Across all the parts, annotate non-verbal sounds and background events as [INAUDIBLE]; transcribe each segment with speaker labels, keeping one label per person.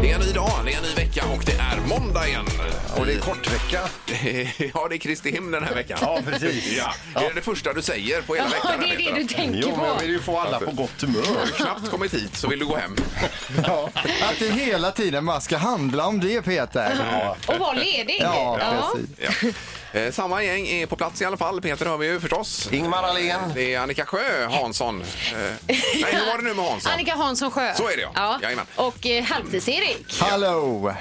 Speaker 1: Det är en ny dag, det är en ny vecka och det är måndag igen.
Speaker 2: Och det är kortvecka.
Speaker 1: [LAUGHS] ja, det är Kristi himl den här veckan.
Speaker 2: Ja, precis.
Speaker 1: Ja, det är det första du säger på hela veckan.
Speaker 3: det är det du tänker
Speaker 2: Jo, men jag
Speaker 3: på.
Speaker 2: vill ju få
Speaker 3: [LAUGHS]
Speaker 2: alla på gott humör.
Speaker 1: Knappt kommit hit så vill du gå hem.
Speaker 4: Ja, att det hela tiden bara ska handla om det Peter. Ja,
Speaker 3: Och var ledig.
Speaker 4: precis.
Speaker 3: [LAUGHS]
Speaker 1: Ja. Eh, Samma gäng är på plats i alla fall. Peter hör vi ju förstås.
Speaker 2: Ingmar Ahlén.
Speaker 1: Det är Annika Sjö Hansson. Eh, Nej, hur var det nu med Hansson?
Speaker 3: Annika Hansson Sjö.
Speaker 1: Så är det, ja. Jajamän.
Speaker 3: Och eh, Halvtids-Erik.
Speaker 4: Hallå!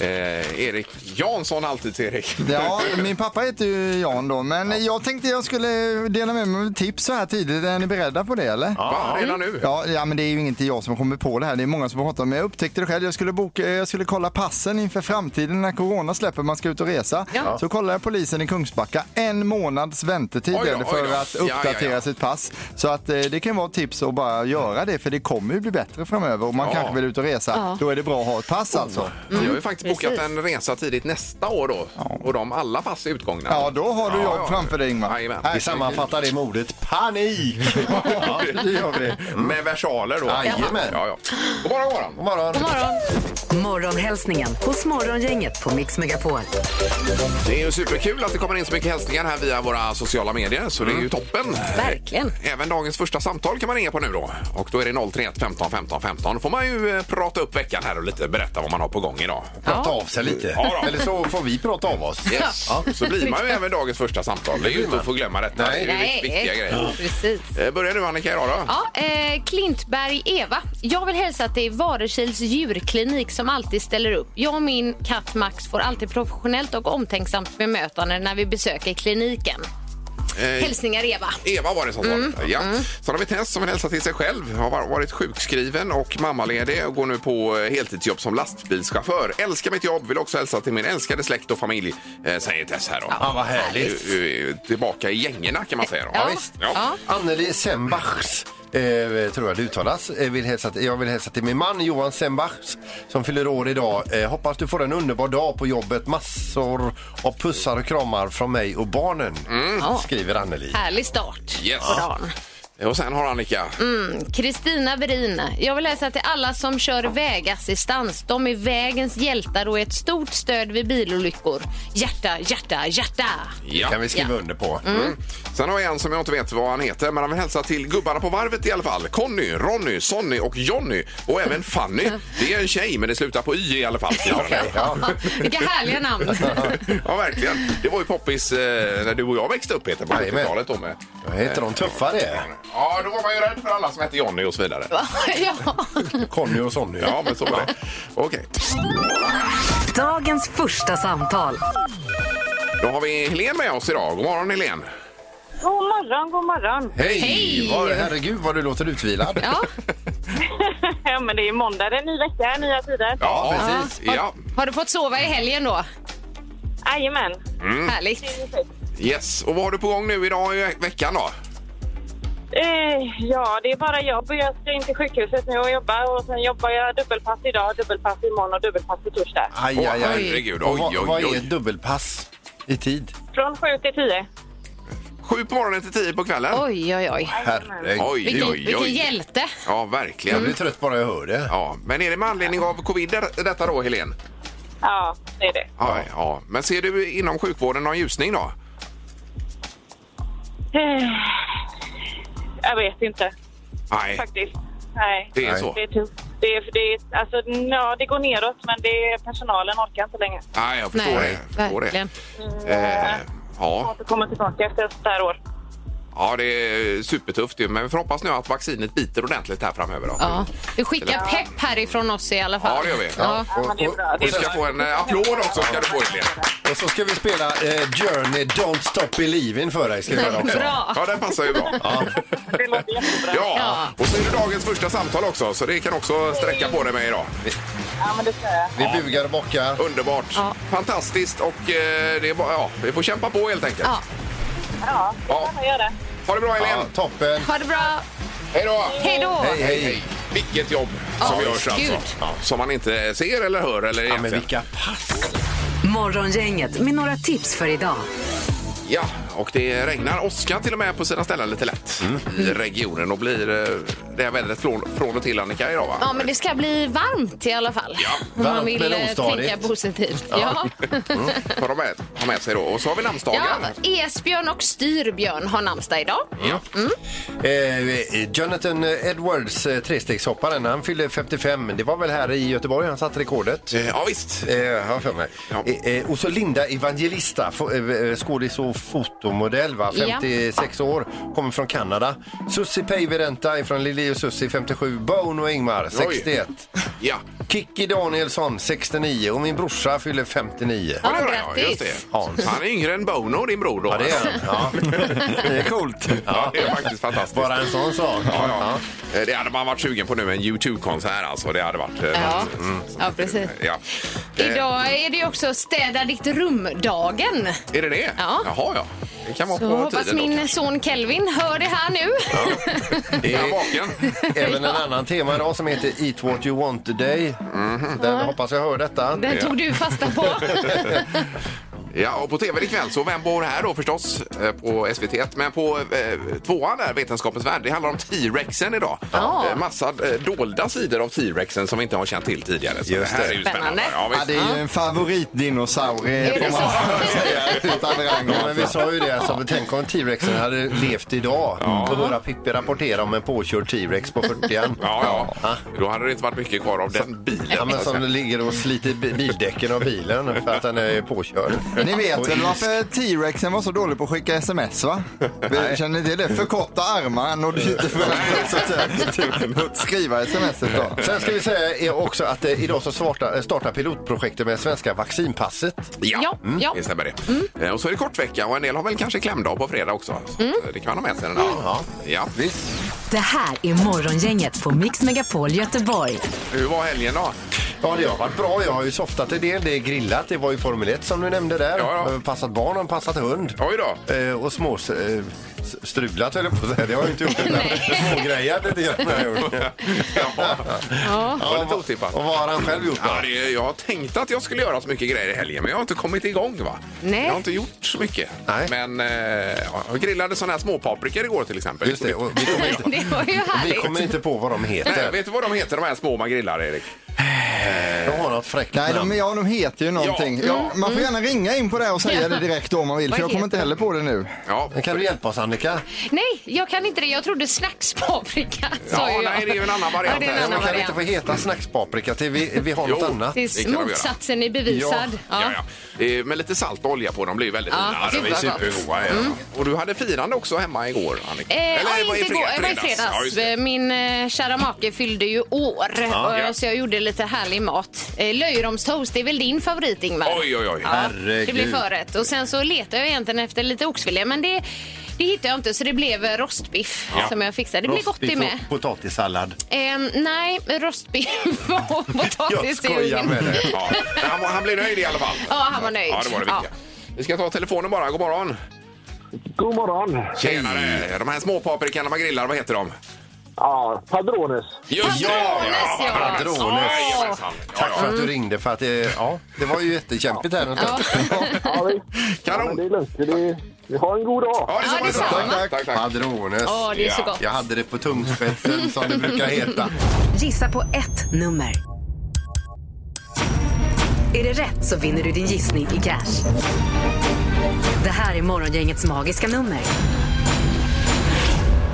Speaker 1: Eh, Erik Jansson, alltid Erik.
Speaker 4: Ja, min pappa heter ju Jan då, men jag tänkte jag skulle dela med mig av ett tips så här tidigt. Är ni beredda på det eller?
Speaker 1: Va, redan nu?
Speaker 4: Ja, ja, men det är ju inte jag som kommer på det här. Det är många som har pratat om det. Men jag upptäckte det själv. Jag skulle, boka, jag skulle kolla passen inför framtiden när corona släpper man ska ut och resa.
Speaker 3: Ja.
Speaker 4: Så kollade jag polisen i Kungsbacka. En månads väntetid
Speaker 1: Oj då,
Speaker 4: blev det
Speaker 1: oj
Speaker 4: för
Speaker 1: då.
Speaker 4: att
Speaker 1: Ja, ja,
Speaker 4: uppdatera
Speaker 1: ja.
Speaker 4: sitt pass. Så att eh, det kan vara ett tips att bara göra det för det kommer ju bli bättre framöver och man
Speaker 1: Ja.
Speaker 4: kanske vill ut och resa.
Speaker 3: Ja.
Speaker 4: Då är det bra att ha ett pass alltså.
Speaker 1: Vi har ju faktiskt bokat
Speaker 3: Precis.
Speaker 1: en resa tidigt nästa år då. Och de alla pass är utgångna.
Speaker 4: Ja, då har du
Speaker 1: Ja,
Speaker 4: jobb
Speaker 1: ja.
Speaker 4: framför dig Ingmar.
Speaker 1: Jajamän.
Speaker 4: Här.
Speaker 2: Vi sammanfattar det med ordet panik.
Speaker 4: [LAUGHS] Det gör vi.
Speaker 1: Med versaler då.
Speaker 2: Jajamän.
Speaker 1: Ja, ja. God morgon, god morgon.
Speaker 2: God morgon.
Speaker 3: God morgon.
Speaker 5: Morgonhälsningen hos Morgongänget på Mix Megapol.
Speaker 1: Det är ju superkul att det kommer in så mycket hälsningar här via våra sociala medier, så
Speaker 2: Mm.
Speaker 1: det är ju toppen.
Speaker 3: Verkligen.
Speaker 1: Även dagens första samtal kan man ringa på nu då. Och då är det 031 15 15 15. Då får man ju eh, prata upp veckan här och lite berätta vad man har på gång idag.
Speaker 2: Prata av sig lite.
Speaker 1: Ja då.
Speaker 2: Eller så får vi prata av oss.
Speaker 1: Yes. Så blir man ju även dagens första samtal. Det är ju inte att få glömma detta.
Speaker 2: Nej.
Speaker 1: Det är ju vikt- viktiga grejer.
Speaker 3: [LAUGHS] Precis.
Speaker 1: Eh, Börjar du Annika idag då?
Speaker 3: Ja, eh, Klintberg Eva. Jag vill hälsa att det är Varekils djurklinik som alltid ställer upp. Jag och min katt Max får alltid professionellt och omtänksamt bemötande när vi besöker kliniken.
Speaker 1: Eh,
Speaker 3: Hälsningar Eva.
Speaker 1: Eva var det som sa det. Ja. Sen har vi Tess som vill hälsa till sig själv. Har var- varit sjukskriven och mammaledig och går nu på eh, heltidsjobb som lastbilschaufför. Älskar mitt jobb, vill också hälsa till min älskade släkt och familj, eh, säger Tess här då.
Speaker 2: Ja, vad härligt.
Speaker 1: Eh, eh, Tillbaka i gängorna kan man säga då.
Speaker 3: Ja, visst. Ja.
Speaker 2: Anneli Sembachs. Eh, tror jag det uttalas. Eh, vill hälsa, till- jag vill hälsa till min man Johan Sembachs som fyller år idag. Eh, hoppas du får en underbar dag på jobbet. Massor av pussar och kramar från mig och barnen.
Speaker 3: Mm. Ja.
Speaker 2: Skriver Anneli.
Speaker 3: Härlig start
Speaker 1: Yes.
Speaker 3: på dagen.
Speaker 1: Eh, Och sen har Annika.
Speaker 2: Mm.
Speaker 3: Kristina Verin. Jag vill hälsa till alla som kör vägassistans. De är vägens hjältar och är ett stort stöd vid bilolyckor. Hjärta, hjärta, hjärta!
Speaker 1: Ja. Mm.
Speaker 2: Kan vi Mm. skriva
Speaker 3: Ja. Mm.
Speaker 2: under på.
Speaker 1: Sen har jag en som jag inte vet vad han heter, men han vill hälsa till gubbarna på varvet i alla fall. Conny, Ronny, Sonny och Jonny och
Speaker 2: [LAUGHS]
Speaker 1: även Fanny. Det är en tjej, men det slutar på Y i alla fall.
Speaker 2: Ja.
Speaker 3: [LAUGHS] Vilka härliga namn!
Speaker 1: [LAUGHS] ja, verkligen. Det var ju poppis eh, när du och jag växte upp, Peter, på
Speaker 2: Jajamän.
Speaker 1: 70-talet. då med-
Speaker 2: Vad heter de tuffa det?
Speaker 1: Ja, då var man ju rädd för alla som hette Johnny och så vidare.
Speaker 3: [LAUGHS] ja.
Speaker 2: Conny och Sonny.
Speaker 1: Ja, men så var
Speaker 2: [LAUGHS]
Speaker 1: det. Okej,
Speaker 5: Dagens första samtal.
Speaker 1: då har vi Helen med oss idag. God morgon, Helen.
Speaker 6: God morgon, god morgon. [LAUGHS]
Speaker 2: Hej!
Speaker 3: Hej!
Speaker 2: Vad- herregud vad du låter utvilad.
Speaker 3: Ja.
Speaker 6: Ja, men det är ju måndag, det är en ny vecka, nya tider.
Speaker 1: Ja,
Speaker 2: precis.
Speaker 1: Ja, ja.
Speaker 3: Har du fått sova i helgen då?
Speaker 6: Jajamän.
Speaker 1: Mm.
Speaker 3: Härligt.
Speaker 1: yes. Och vad har du på gång nu idag i veckan då?
Speaker 6: Eh, ja, det är bara jobb och jag ska in till sjukhuset nu och jobba och sen jobbar jag dubbelpass idag, dubbelpass imorgon och dubbelpass på torsdag.
Speaker 2: Aj,
Speaker 1: Åh,
Speaker 2: aj, aj.
Speaker 1: herregud.
Speaker 2: Och
Speaker 1: Oj,
Speaker 2: vad-
Speaker 1: oj,
Speaker 2: Vad
Speaker 1: oj.
Speaker 2: är ett dubbelpass i tid?
Speaker 6: Från sju till tio.
Speaker 1: Sju på morgonen till tio på kvällen?
Speaker 3: Oj, oj, oj.
Speaker 2: Herregud.
Speaker 1: oj,
Speaker 3: Vilken,
Speaker 1: oj.
Speaker 3: vilken hjälte.
Speaker 1: Ja, verkligen.
Speaker 2: Jag blir trött bara jag hör det.
Speaker 1: Ja, men är det med anledning av covid där- detta då, Helen?
Speaker 6: Ja, det är det.
Speaker 1: Ja. ja. Men ser du inom sjukvården någon ljusning då?
Speaker 6: Eh, jag vet inte
Speaker 1: Nej,
Speaker 6: faktiskt. Nej.
Speaker 1: det är
Speaker 2: Nej.
Speaker 1: så.
Speaker 6: Det är tufft. Det, är, det, är, alltså, ja, det går neråt, men det är, personalen orkar inte längre.
Speaker 1: Nej, jag förstår
Speaker 3: Nej,
Speaker 1: det. Jag Förstår
Speaker 3: verkligen.
Speaker 1: Det. Eh, ja.
Speaker 6: Jag får komma tillbaka efter ett sånt här år.
Speaker 1: ja, det är supertufft ju. Men vi får hoppas nu att vaccinet biter ordentligt här framöver. Då. Mm.
Speaker 3: Ja. Du skickar pepp härifrån oss i alla fall.
Speaker 1: Ja, det gör vi.
Speaker 3: Ja.
Speaker 6: Ja, men det är bra.
Speaker 1: Du
Speaker 6: Det är
Speaker 1: ska
Speaker 6: bra.
Speaker 1: få en eh, applåd också. Ska du få, Helen.
Speaker 2: Och så ska vi spela eh, Journey Don't Stop Believin' för dig. Ska vi göra också.
Speaker 3: Bra.
Speaker 1: Ja, den passar
Speaker 3: [LAUGHS]
Speaker 1: ju bra. Ja.
Speaker 6: Det låter jättebra.
Speaker 1: och så är det dagens första samtal också, så det kan också sträcka på dig med idag.
Speaker 6: Ja, men det ska jag.
Speaker 2: Vi bugar och bockar.
Speaker 1: Underbart.
Speaker 3: Ja.
Speaker 1: Fantastiskt och eh, det är bara, ja, vi får kämpa på helt enkelt.
Speaker 3: Ja.
Speaker 6: Ja,
Speaker 1: Ja.
Speaker 6: jag gör det.
Speaker 1: Ha det bra, Helen.
Speaker 2: Ja, toppen.
Speaker 3: Ha det bra.
Speaker 1: Hej då!
Speaker 3: Hej då.
Speaker 2: Hej, hej.
Speaker 1: Vilket jobb som
Speaker 3: Ja,
Speaker 1: görs
Speaker 3: gud.
Speaker 1: alltså. Som man inte ser eller hör eller
Speaker 2: Ja, men
Speaker 1: egentligen.
Speaker 2: vilka pass!
Speaker 5: Morgongänget med några tips för idag.
Speaker 1: Ja, och det regnar åska till och med på sina ställen lite lätt
Speaker 2: Mm.
Speaker 1: i regionen. Och blir eh, det här vädret från, från och till Annika idag va?
Speaker 3: Ja, men det ska bli varmt i alla fall.
Speaker 1: Ja,
Speaker 3: Om
Speaker 2: varmt
Speaker 3: man vill
Speaker 2: men
Speaker 3: eh,
Speaker 2: ostadigt.
Speaker 3: tänka positivt. Ja.
Speaker 1: Mm, Får de med, ha med sig då. Och så har vi namnsdagen.
Speaker 3: Ja, Esbjörn och Styrbjörn har namnsdag idag.
Speaker 1: Ja.
Speaker 2: Eh, Jonathan Edwards, eh, trestegshopparen, han fyllde 55. Det var väl här i Göteborg han satte rekordet?
Speaker 1: Eh, Ja, visst.
Speaker 2: Eh, har jag för mig.
Speaker 1: Ja.
Speaker 2: Eh, eh, och så Linda Evangelista, fo- eh, eh, skådis och fotomodell, va?
Speaker 3: Ja.
Speaker 2: 56 år, kommer från Kanada. Susie Päivärinta från Lili och Susie, 57. Bono och Ingmar, 61.
Speaker 1: Ja.
Speaker 2: Kikki Danielsson, 69. Och min brorsa fyller 59.
Speaker 1: Ja, det
Speaker 3: Ja,
Speaker 1: gör jag.
Speaker 3: grattis.
Speaker 1: Just det.
Speaker 2: Hans.
Speaker 1: Han är yngre än Bono, din bror. Då.
Speaker 2: Ja, det är han. Ja.
Speaker 4: [LAUGHS] Det är coolt.
Speaker 1: Ja, det är faktiskt fantastiskt.
Speaker 2: Bara en sån sak.
Speaker 1: Ja, ja. Eh, Det hade man varit sugen på nu, en YouTube-konsert alltså. Det hade varit... eh,
Speaker 3: Ja.
Speaker 1: något, mm, som-
Speaker 3: Ja, precis.
Speaker 1: Ja. Eh,
Speaker 3: Idag är det ju också städa ditt rum-dagen.
Speaker 1: Eh, Är det det?
Speaker 3: Ja.
Speaker 1: Jaha, ja. Det kan vara
Speaker 3: Så
Speaker 1: på
Speaker 3: hoppas
Speaker 1: tiden då.
Speaker 3: min
Speaker 1: kanske.
Speaker 3: son Kelvin hör det här nu.
Speaker 2: Det
Speaker 1: Är han
Speaker 2: är- [LAUGHS]
Speaker 1: vaken?
Speaker 2: Även en annan tema idag som heter Eat What You Want Day.
Speaker 4: Mhm.
Speaker 2: Den hoppas jag hör detta.
Speaker 3: [LAUGHS] Den tog du fasta
Speaker 1: [LAUGHS]
Speaker 3: på.
Speaker 1: Ja, och på tv ikväll så Vem bor här då förstås eh, på SVT1. Men på eh, tvåan där, Vetenskapens värld, det handlar om T-rexen idag.
Speaker 3: Ja.
Speaker 1: Eh, massa eh, dolda sidor av T-rexen som vi inte har känt till tidigare. Så
Speaker 2: Just
Speaker 1: det här
Speaker 2: det.
Speaker 1: är ju spännande.
Speaker 3: Spännande.
Speaker 1: Ja,
Speaker 4: Ja,
Speaker 1: visst.
Speaker 4: det är ju en favoritdinosaurie
Speaker 3: Är det
Speaker 4: får man säga. Utan rang.
Speaker 2: Ja, men vi sa ju det, alltså, tänk om T-rexen hade levt idag och höra Pippi rapportera om en påkörd T-rex på 40
Speaker 1: ja, ja. Då hade det inte varit mycket kvar av den bilen.
Speaker 2: Ja, men som ligger och sliter bi- bildäcken av bilen för att den är påkörd.
Speaker 4: Ni
Speaker 2: Och
Speaker 4: vet väl
Speaker 2: is.
Speaker 4: varför T-rexen var så dålig på att skicka sms va? Vi Känner ni till det? Förkorta armar, han nådde ju inte fram [LAUGHS] så att säga, att skriva sms då.
Speaker 2: Sen ska vi säga är också att eh, idag så svarta- eh, startar pilotprojektet med svenska vaccinpasset.
Speaker 1: Ja,
Speaker 3: Ja,
Speaker 1: mm.
Speaker 3: ja.
Speaker 1: det stämmer det. Eh, Och så är det kortvecka och en del har väl kanske klämdag på fredag också. Så
Speaker 3: Mm.
Speaker 1: att eh, Det kan man ha med sig den där. Ja.
Speaker 5: Det här är Morgongänget på Mix Megapol Göteborg.
Speaker 1: Hur var helgen då?
Speaker 2: Ja, det har varit bra. Jag har ju softat en del. Det är grillat. Det var ju Formel 1 som du nämnde där.
Speaker 1: Ja, ja.
Speaker 2: Eh, Passat barn och passat hund.
Speaker 1: Oj då.
Speaker 2: Eh, och smås... Eh, s- strulat höll jag på att säga. Det har jag inte gjort. Smågrejat lite grann har jag gjort.
Speaker 1: Ja. Det var lite otippat.
Speaker 2: Och vad har han själv gjort då?
Speaker 1: Ja, det, jag tänkte att jag skulle göra så mycket grejer i helgen, men jag har inte kommit igång. va?
Speaker 3: Nej.
Speaker 1: Jag har inte gjort så mycket.
Speaker 2: Nej.
Speaker 1: Men eh, ja, jag grillade sådana här småpaprikor igår till exempel.
Speaker 2: Just det. Och vi, kommer inte,
Speaker 3: Det var ju
Speaker 2: vi
Speaker 3: härligt.
Speaker 2: kommer inte på vad de
Speaker 1: Nej,
Speaker 2: heter.
Speaker 1: vet du vad de heter, de här små man grillar, Erik?
Speaker 2: De har något fräckt
Speaker 4: Nej, de,
Speaker 2: namn.
Speaker 4: ja, de heter ju någonting.
Speaker 1: Ja.
Speaker 4: Ja, man får gärna ringa in på det och säga det direkt om man vill, för
Speaker 3: Vad
Speaker 4: jag kommer
Speaker 3: heter
Speaker 4: inte heller på det nu.
Speaker 1: Ja.
Speaker 2: Men Kan du hjälpa oss Annika?
Speaker 3: Nej, jag kan inte det. Jag trodde snackspaprika, sa
Speaker 1: Ja,
Speaker 3: ju jag.
Speaker 1: nej, det är ju en annan
Speaker 3: Ja,
Speaker 1: variant.
Speaker 3: det är en
Speaker 1: här.
Speaker 2: De
Speaker 3: annan
Speaker 2: kan inte
Speaker 3: variant.
Speaker 2: få heta snackspaprika till vi, vi har något
Speaker 1: Jo.
Speaker 2: annat.
Speaker 1: Det
Speaker 3: Tills
Speaker 1: kan de göra.
Speaker 3: motsatsen är bevisad.
Speaker 1: Ja, ja. Eh, Med lite salt och olja på, de blir väldigt
Speaker 3: Ja,
Speaker 1: fina.
Speaker 3: gud,
Speaker 1: De är
Speaker 3: vad gott.
Speaker 1: supergoda. ja. Och du hade firande också hemma igår, Annika?
Speaker 3: Eh, ja,
Speaker 1: det var i
Speaker 3: inte
Speaker 1: fred-
Speaker 3: igår, det var i
Speaker 1: Ja, just
Speaker 3: fredags.
Speaker 1: det.
Speaker 3: Min eh, kära make fyllde ju år, och,
Speaker 1: ja.
Speaker 3: så jag gjorde lite härlig mat. Eh, löjromstoast, det är väl din favorit, Ingmar?
Speaker 1: Oj, oj, oj.
Speaker 3: Ja, det
Speaker 2: Herregud.
Speaker 3: blev förrätt. Och sen så letade jag egentligen efter lite oxfilé, men det, det hittade jag inte. Så det blev eh, rostbiff
Speaker 1: Ja.
Speaker 3: som jag fixade. Det blev gott det
Speaker 2: Rostbiff
Speaker 3: med.
Speaker 2: och Potatissallad.
Speaker 3: Ehm, nej, rostbiff [LAUGHS] och
Speaker 2: Jag
Speaker 3: potatis i
Speaker 2: skojar med
Speaker 3: ugnen.
Speaker 2: dig.
Speaker 1: Ja. Han, var- han blev nöjd i alla fall.
Speaker 3: Ja, han var nöjd.
Speaker 1: Ja, det var det
Speaker 3: Ja.
Speaker 1: viktiga. Vi ska ta telefonen bara. God morgon.
Speaker 7: God morgon.
Speaker 1: Tjenare! De här små paprikorna man grillar, vad heter de?
Speaker 7: Ja, padrones.
Speaker 1: Just det!
Speaker 3: Padrones, ja.
Speaker 1: padrones.
Speaker 2: Padrones.
Speaker 1: Jajamensan. Ja,
Speaker 2: Tack för
Speaker 1: ja.
Speaker 2: att du ringde för att eh, ja, det var ju jättekämpigt här.
Speaker 3: Mm. Ja. [LAUGHS]
Speaker 7: Ja, vi, ja, men det
Speaker 1: Kanon!
Speaker 7: är lugnt. Det, vi har en god dag.
Speaker 1: Ja,
Speaker 3: Ja,
Speaker 1: detsamma,
Speaker 3: detsamma.
Speaker 1: detsamma. Tack, tack.
Speaker 2: Padrones.
Speaker 3: Åh, det är så
Speaker 1: Ja.
Speaker 3: gott.
Speaker 2: Jag hade det på tungspetsen som det brukar heta.
Speaker 3: Mm.
Speaker 5: Gissa på ett nummer. Är det rätt så vinner du din gissning i cash. Det här är Morgongängets magiska nummer.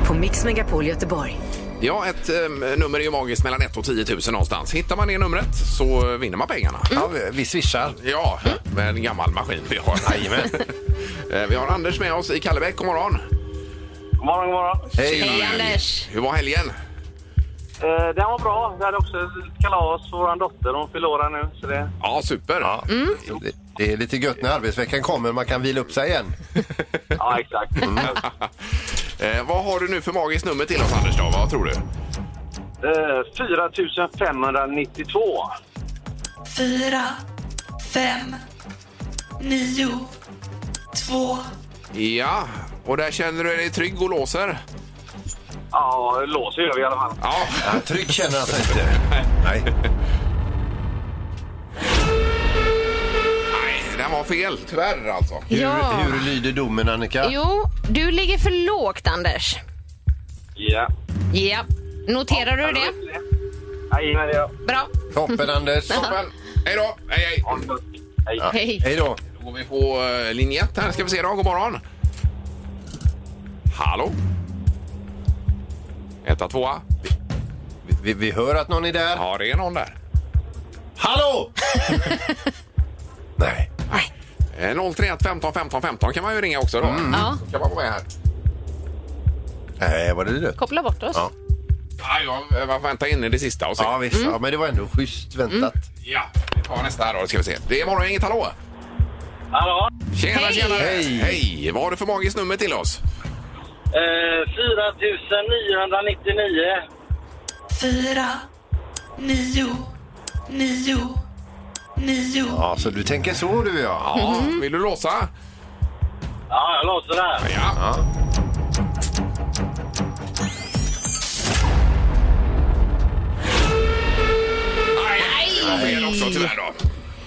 Speaker 5: På Mix Megapol Göteborg.
Speaker 1: Ja, ett em, nummer är ju magiskt mellan 1 och 10 000 någonstans. Hittar man det numret så vinner man pengarna.
Speaker 2: Ja, vi- vi swishar.
Speaker 1: Ja, med en gammal maskin vi har. Jajamän. Eh, vi har Anders med oss i Kallebäck. God morgon!
Speaker 7: God morgon, god morgon.
Speaker 3: Hej Anders!
Speaker 1: Hur var helgen?
Speaker 7: Eh, den var bra. Vi hade också ett kalas för vår dotter. Hon fyller år här nu. Så det...
Speaker 1: Ja, super. Mm. Ja.
Speaker 2: Det, det är lite gött när arbetsveckan kommer. Man kan vila upp sig igen.
Speaker 7: Ja, exakt.
Speaker 3: Mm.
Speaker 1: eh, vad har du nu för magiskt nummer till oss, Anders? Då? Vad tror du?
Speaker 7: Eh, 4592.
Speaker 8: 4, 5, 9, 2.
Speaker 1: Ja, och där känner du dig trygg och låser?
Speaker 7: Ja, låser gör vi i alla fall.
Speaker 1: Ja.
Speaker 2: Ja, trygg känner han sig inte. Nej.
Speaker 1: Nej, fel, tyvärr alltså.
Speaker 2: Hur,
Speaker 3: Ja.
Speaker 2: hur lyder domen, Annika?
Speaker 3: Jo, du ligger för lågt, Anders.
Speaker 7: Ja.
Speaker 3: Ja. Noterar du det?
Speaker 7: Jajamän, ja.
Speaker 3: Bra.
Speaker 2: Toppen, Anders.
Speaker 1: Toppen. Hej då! Hej, hej!
Speaker 7: Hej.
Speaker 3: Hej.
Speaker 2: Hej då.
Speaker 1: Då går vi på eh, linje 1 här. Ska vi se då. God morgon! Hallå? Etta, tvåa.
Speaker 2: Vi, vi hör att någon är där.
Speaker 1: Ja, det är någon där.
Speaker 2: Hallå! Nej.
Speaker 1: Eh, 031 15 15 15 kan man ju ringa också då.
Speaker 2: Mm.
Speaker 3: Ja,
Speaker 1: Kan man vara med här?
Speaker 2: Nej, var det du?
Speaker 3: koppla bort oss.
Speaker 2: Ja.
Speaker 1: Ja, jag eh, väntar in i det sista och se.
Speaker 2: Ja, visst.
Speaker 3: Mm.
Speaker 2: Ja, men det var ändå schysst väntat.
Speaker 1: Ja, vi tar nästa här då. Ska vi se. Det är morgon, inget hallå!
Speaker 7: Hallå?
Speaker 1: Tjena,
Speaker 3: Hej!
Speaker 1: tjena!
Speaker 2: Hej!
Speaker 1: Hej! Vad har du för magiskt nummer till oss?
Speaker 7: Eh, 4999.
Speaker 8: fyra, nio, nio, nio,
Speaker 2: Ja, så du tänker så du, ja.
Speaker 1: Ja, Mm-hmm. vill du låsa?
Speaker 7: Ja, jag låser där.
Speaker 1: Ja. Nej, det var fel också tyvärr då.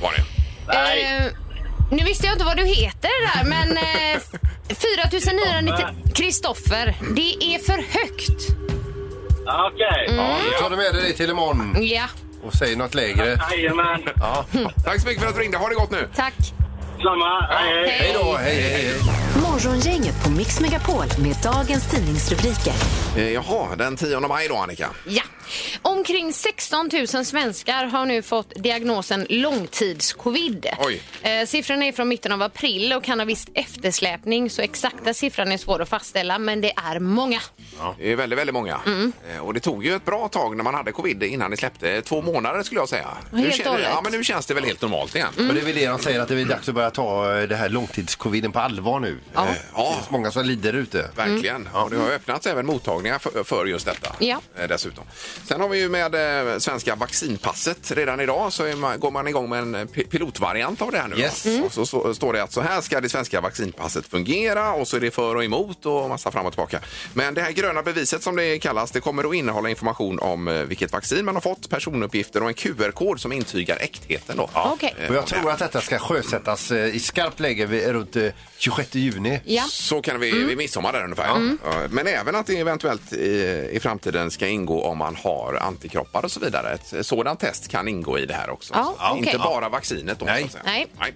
Speaker 1: Var det.
Speaker 3: Eh, nu visste jag inte vad du heter där, men eh, 4990... Kristoffer. Det är för högt.
Speaker 7: Ja, Okej.
Speaker 2: ja.
Speaker 3: Mm.
Speaker 2: Tar du med dig det till imorgon
Speaker 3: Ja,
Speaker 2: och säger något lägre?
Speaker 7: Jajamän.
Speaker 3: Hm.
Speaker 1: Tack så mycket för att du ringde. Ha det gott nu.
Speaker 3: tack.
Speaker 7: Samma. Hej, hej.
Speaker 2: Hej då, hej, hej, hej.
Speaker 5: Morgongänget på Mix Megapol med dagens tidningsrubriker.
Speaker 1: Eh, Jaha, den 10 maj då Annika.
Speaker 3: Ja. Omkring 16 000 svenskar har nu fått diagnosen långtidscovid.
Speaker 1: Oj.
Speaker 3: Eh, siffrorna är från mitten av april och kan ha viss eftersläpning så exakta siffran är svår att fastställa men det är många.
Speaker 1: Det är väldigt, väldigt många.
Speaker 3: Mm.
Speaker 1: Eh, Och det tog ju ett bra tag när man hade covid innan det släppte. Två månader skulle jag säga. nu,
Speaker 3: Helt
Speaker 1: känner,
Speaker 3: och
Speaker 1: ja,
Speaker 3: hållet.
Speaker 1: men nu känns det väl helt normalt igen.
Speaker 2: Och
Speaker 3: Mm.
Speaker 2: det är väl det de säger, att det är dags att börja ta eh, det här långtidscoviden på allvar nu.
Speaker 3: Ja.
Speaker 2: Eh, Det finns många som lider ute.
Speaker 1: Verkligen. Och det har öppnats även mottagningar för, för just detta.
Speaker 3: Mm. Ja.
Speaker 1: Eh, Dessutom. Sen har vi ju med eh, svenska vaccinpasset. Redan idag så är man, går man igång med en pi- pilotvariant av det här nu.
Speaker 2: Yes.
Speaker 1: va? Och så, så står det att så här ska det svenska vaccinpasset fungera och så är det för och emot och massa fram och tillbaka. Men det här gröna beviset som det kallas, det kommer att innehålla information om eh, vilket vaccin man har fått, personuppgifter och en QR-kod som intygar äktheten. Då.
Speaker 3: Okej.
Speaker 1: Eh,
Speaker 2: Och jag tror att detta ska sjösättas eh, i skarpt läge vid- runt eh, 26 juni.
Speaker 3: Ja. Mm.
Speaker 1: Så kan vi vid midsommar där ungefär. Ja, Men även att det eventuellt i, i framtiden ska ingå om man har antikroppar och så vidare. Ett sådant test kan ingå i det här också.
Speaker 3: Ja,
Speaker 1: Så Inte
Speaker 3: okej.
Speaker 1: bara vaccinet då.
Speaker 2: Nej.
Speaker 1: så att säga.
Speaker 3: Nej.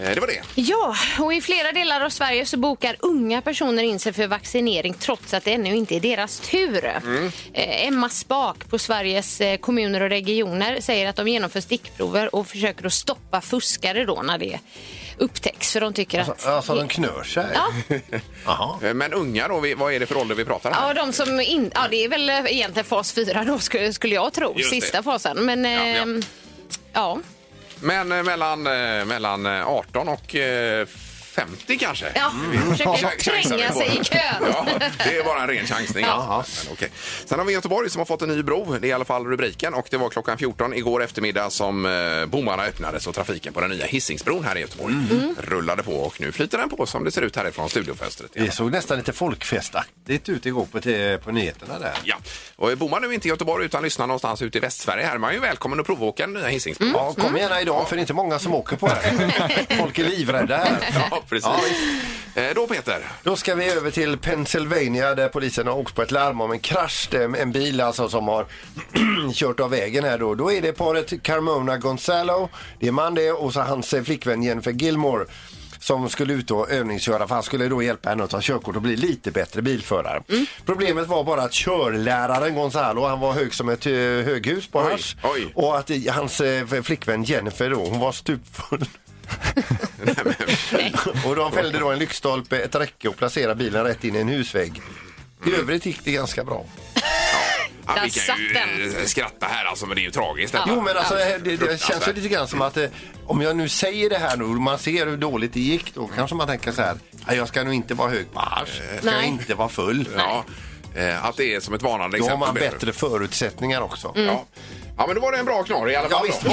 Speaker 1: Eh, Det var det.
Speaker 3: Ja, och i flera delar av Sverige så bokar unga personer in sig för vaccinering trots att det ännu inte är deras tur.
Speaker 2: Mm.
Speaker 3: Eh, Emma Spak på Sveriges eh, kommuner och regioner säger att de genomför stickprover och försöker att stoppa fuskare då när det upptäcks för de tycker att...
Speaker 2: Alltså, alltså de knör sig.
Speaker 3: Ja,
Speaker 2: Jaha.
Speaker 1: Eh, Men unga då, vi- vad är det för ålder vi pratar här?
Speaker 3: ja, de som in, ja, det är väl eh, egentligen fas 4 då skulle, skulle jag tro,
Speaker 1: Just det.
Speaker 3: sista fasen. Men
Speaker 1: Ja,
Speaker 3: ehm, ja.
Speaker 1: Men eh, mellan, eh, mellan eh, 18 och eh, 50 kanske?
Speaker 3: Ja, försöker
Speaker 1: Ch- chansar vi
Speaker 3: tränga
Speaker 1: på.
Speaker 3: sig i kön.
Speaker 1: Mm. Ja, det är bara en ren chansning. Ja. Men okej. Sen har vi Göteborg som har fått en ny bro. Det är i alla fall rubriken. Och Det var klockan 14 igår eftermiddag som eh, bommarna öppnades och trafiken på den nya Hisingsbron här i Göteborg rullade på. Och Nu flyter den på som det ser ut härifrån studiofönstret.
Speaker 2: Det såg nästan lite folkfestaktigt ut igår på, te- på nyheterna där.
Speaker 1: Ja, och bor man nu inte i Göteborg utan lyssnar någonstans ute i Västsverige här är man ju välkommen att provåka den nya Hisingsbron.
Speaker 2: Ja,
Speaker 3: mm.
Speaker 2: kom gärna idag för det är inte många som åker på
Speaker 3: [LAUGHS]
Speaker 2: det. Folk är livrädda här.
Speaker 1: [LAUGHS] Ja, precis.
Speaker 2: Mm. Ja,
Speaker 1: Eh, då Peter, [LAUGHS]
Speaker 2: Då ska vi över till Pennsylvania där polisen har åkt på ett larm om en krasch. Det är En bil alltså som har [CLEARS THROAT] kört av vägen här då. Då är det paret Carmona Gonzalo, det är man det, och så hans eh, flickvän Jennifer Gilmore som skulle ut och övningsköra för han skulle då hjälpa henne att ta körkort och bli lite bättre bilförare.
Speaker 1: Mm.
Speaker 2: Problemet var bara att körläraren Gonzalo, han var hög som ett eh, höghus på
Speaker 1: Oj,
Speaker 2: hasch.
Speaker 1: oj.
Speaker 2: Och att eh, hans eh, flickvän Jennifer då, hon var
Speaker 1: [LAUGHS]
Speaker 2: stupfull. [LAUGHS] och de fällde då en lyktstolpe, ett räcke och placerade bilen rätt in i en husvägg. I
Speaker 1: Mm.
Speaker 2: övrigt gick det ganska bra.
Speaker 1: ja,
Speaker 3: Där
Speaker 1: vi kan
Speaker 3: satt
Speaker 1: ju
Speaker 3: den.
Speaker 1: eh, skratta här alltså, men det är ju tragiskt. detta.
Speaker 2: Jo men alltså det, det, det känns ju
Speaker 1: Fruktansvärt.
Speaker 2: lite grann som att eh, om jag nu säger det här nu och man ser hur dåligt det gick då kanske man tänker så här. "Nej, Jag ska nog inte vara hög på hasch.
Speaker 1: Eh,
Speaker 2: Ska jag
Speaker 3: Nej.
Speaker 2: inte vara full.
Speaker 1: Ja, eh, att det är som ett varnande
Speaker 2: Då har
Speaker 1: exempel.
Speaker 2: man
Speaker 1: Peter.
Speaker 2: bättre förutsättningar också.
Speaker 1: Ja. ja, men då var det en bra knorr i alla fall. då.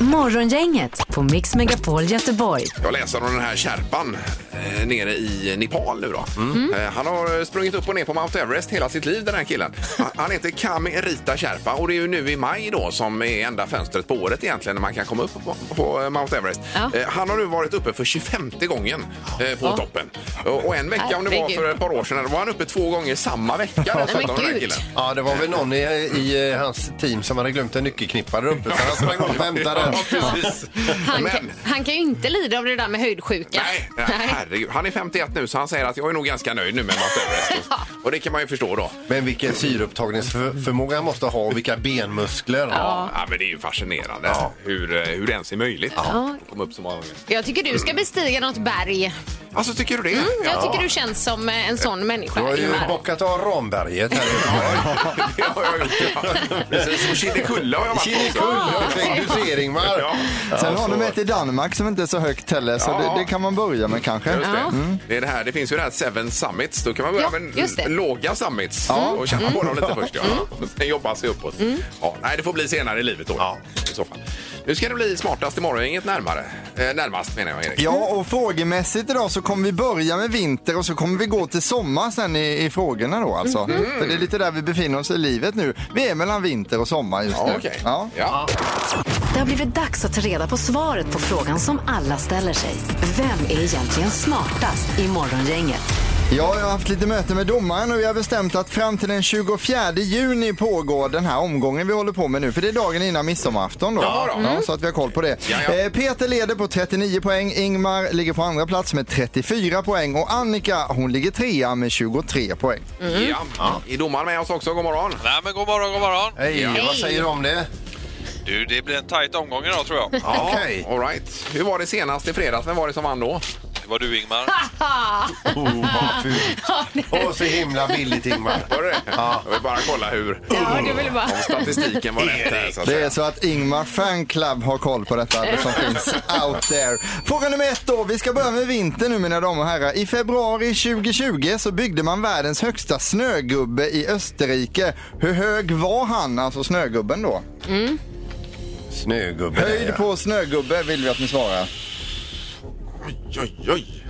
Speaker 5: Morgongänget på Mix Megapol Göteborg.
Speaker 1: Jag läser om den här kärpan eh, nere i Nepal nu då.
Speaker 2: Mm.
Speaker 1: Eh, Han har sprungit upp och ner på Mount Everest hela sitt liv den här killen. Han- Han heter Kami Rita Sherpa och det är ju nu i maj då som är enda fönstret på året egentligen när man kan komma upp på, på eh, Mount Everest.
Speaker 3: Ja.
Speaker 1: Eh, Han har nu varit uppe för 25 gången eh, på toppen. Och och en vecka om det var
Speaker 3: Herregud.
Speaker 1: för ett par år sedan då var han uppe två gånger samma vecka. dessutom, den här
Speaker 3: gud.
Speaker 1: killen.
Speaker 2: Ja, det var väl någon i, i eh, hans team som hade glömt en nyckelknippa där uppe. Så han sprang upp och hämtade den.
Speaker 1: Ja, precis.
Speaker 3: Han,
Speaker 1: Men,
Speaker 3: kan, han kan ju inte lida av det där med höjdsjuka.
Speaker 1: nej, nej, herregud. Han är 51 nu så han säger att jag är nog ganska nöjd nu med Mount [LAUGHS] Everest. Och det kan man ju förstå då.
Speaker 2: Men vilken syreupptagningsförmåga han måste ha och vilka benmuskler.
Speaker 1: Ja. men det är ju fascinerande hur, eh, hur det ens är möjligt. Ja. Kom upp så många gånger.
Speaker 3: Jag tycker du ska bestiga något berg.
Speaker 1: Alltså, tycker du det?
Speaker 3: Jag
Speaker 1: [LAUGHS]
Speaker 3: tycker du känns som eh, en sån människa.
Speaker 2: Du har ju
Speaker 3: Ingmar.
Speaker 2: bockat av Ramberget här
Speaker 1: det har jag gjort. Ja. [LAUGHS] Precis, och Kinnekulle har jag varit på också.
Speaker 2: Du ser Ingmar.
Speaker 1: Ja.
Speaker 4: Sen har
Speaker 1: Alltså,
Speaker 4: de ett i Danmark som inte är så högt heller, så
Speaker 1: Ja.
Speaker 4: det, det kan man börja med kanske.
Speaker 1: Just det. Mm. Det, är det, här. det finns ju det här Seven Summits. Då kan man börja
Speaker 3: Ja,
Speaker 1: med
Speaker 3: just det. Mm.
Speaker 1: låga summits och känna på dem lite först. Ja. Och Sen jobba sig uppåt. Ja, nej, det får bli senare i livet då. I så fall. Nu ska det bli smartast i morgongänget närmare. Eh, närmast menar jag, Erik.
Speaker 4: Ja, och frågemässigt idag så kommer vi börja med vinter och så kommer vi gå till sommar sen i, i frågorna då alltså.
Speaker 1: Mhm.
Speaker 4: För det är lite där vi befinner oss i livet nu. Vi är mellan vinter och sommar just
Speaker 1: Ja,
Speaker 4: nu.
Speaker 1: okej.
Speaker 4: Ja.
Speaker 1: Ja.
Speaker 5: Det har blivit dags att ta reda på svaret på frågan som alla ställer sig. Vem är egentligen smartast i Morgongänget?
Speaker 4: Ja, jag har haft lite möte med domaren och vi har bestämt att fram till den 24 juni pågår den här omgången vi håller på med nu. För det är dagen innan midsommarafton då.
Speaker 1: Ja, då. Mm.
Speaker 4: Ja, så att vi har koll på det.
Speaker 1: Ja, ja.
Speaker 4: Eh, Peter leder på 39 poäng, Ingmar ligger på andra plats med 34 poäng och Annika hon ligger trea med 23 poäng.
Speaker 1: Mm. Ja. Är domaren med oss också? God morgon.
Speaker 9: Nej, men god morgon, god morgon.
Speaker 2: Hej, vad säger du om det?
Speaker 9: Du, det blir en tajt omgång idag tror jag.
Speaker 1: [LAUGHS] Ja,
Speaker 2: Okej.
Speaker 1: all right. Hur var det senast i fredags? Vem var det som vann då?
Speaker 9: Det var du Ingmar.
Speaker 1: Oh,
Speaker 2: Åh, så himla billigt Ingmar.
Speaker 1: Var det det? Jag vill bara kolla hur
Speaker 3: Ja, du vill bara...
Speaker 1: om statistiken var rätt. Här, så att
Speaker 4: Det
Speaker 1: säga.
Speaker 4: är så att Ingmar fanclub har koll på detta det som finns out there. Fråga nummer ett då. Vi ska börja med vinter nu mina damer och herrar. I februari 2020 så byggde man världens högsta snögubbe i Österrike. Hur hög var han, alltså snögubben då?
Speaker 2: Snögubbe.
Speaker 4: Höjd på snögubbe vill vi att ni svarar.
Speaker 1: Oj, oj, oj.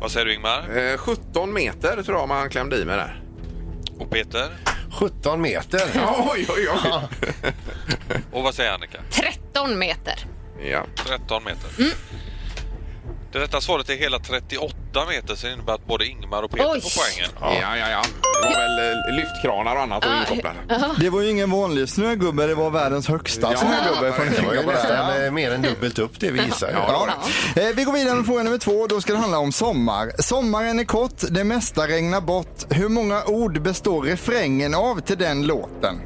Speaker 9: Vad säger du Ingmar?
Speaker 3: Mm.
Speaker 1: Eh, 17 meter tror jag man klämde i med där.
Speaker 9: Och Peter?
Speaker 2: 17 meter.
Speaker 1: Oj, oj, oj.
Speaker 9: Och vad säger Annika?
Speaker 3: 13 meter.
Speaker 1: Ja.
Speaker 9: 13 meter. Det rätta svaret är hela 38 meter, så det innebär att både Ingmar och Peter
Speaker 3: Oj.
Speaker 9: får poängen.
Speaker 1: Ja. ja, ja, Det var väl eh, lyftkranar och annat och inkopplade.
Speaker 4: Det var ju ingen vanlig snögubbe, det var världens högsta
Speaker 1: Ja.
Speaker 4: snögubbe. Från
Speaker 2: Det var ju
Speaker 4: Singapore.
Speaker 2: nästan eh, mer än dubbelt upp det vi gissar.
Speaker 1: Ja, det var det.
Speaker 4: Eh, Vi går vidare med fråga nummer två. Då ska det handla om sommar. Sommaren är kort, det mesta regnar bort. Hur många ord består refrängen av till den låten?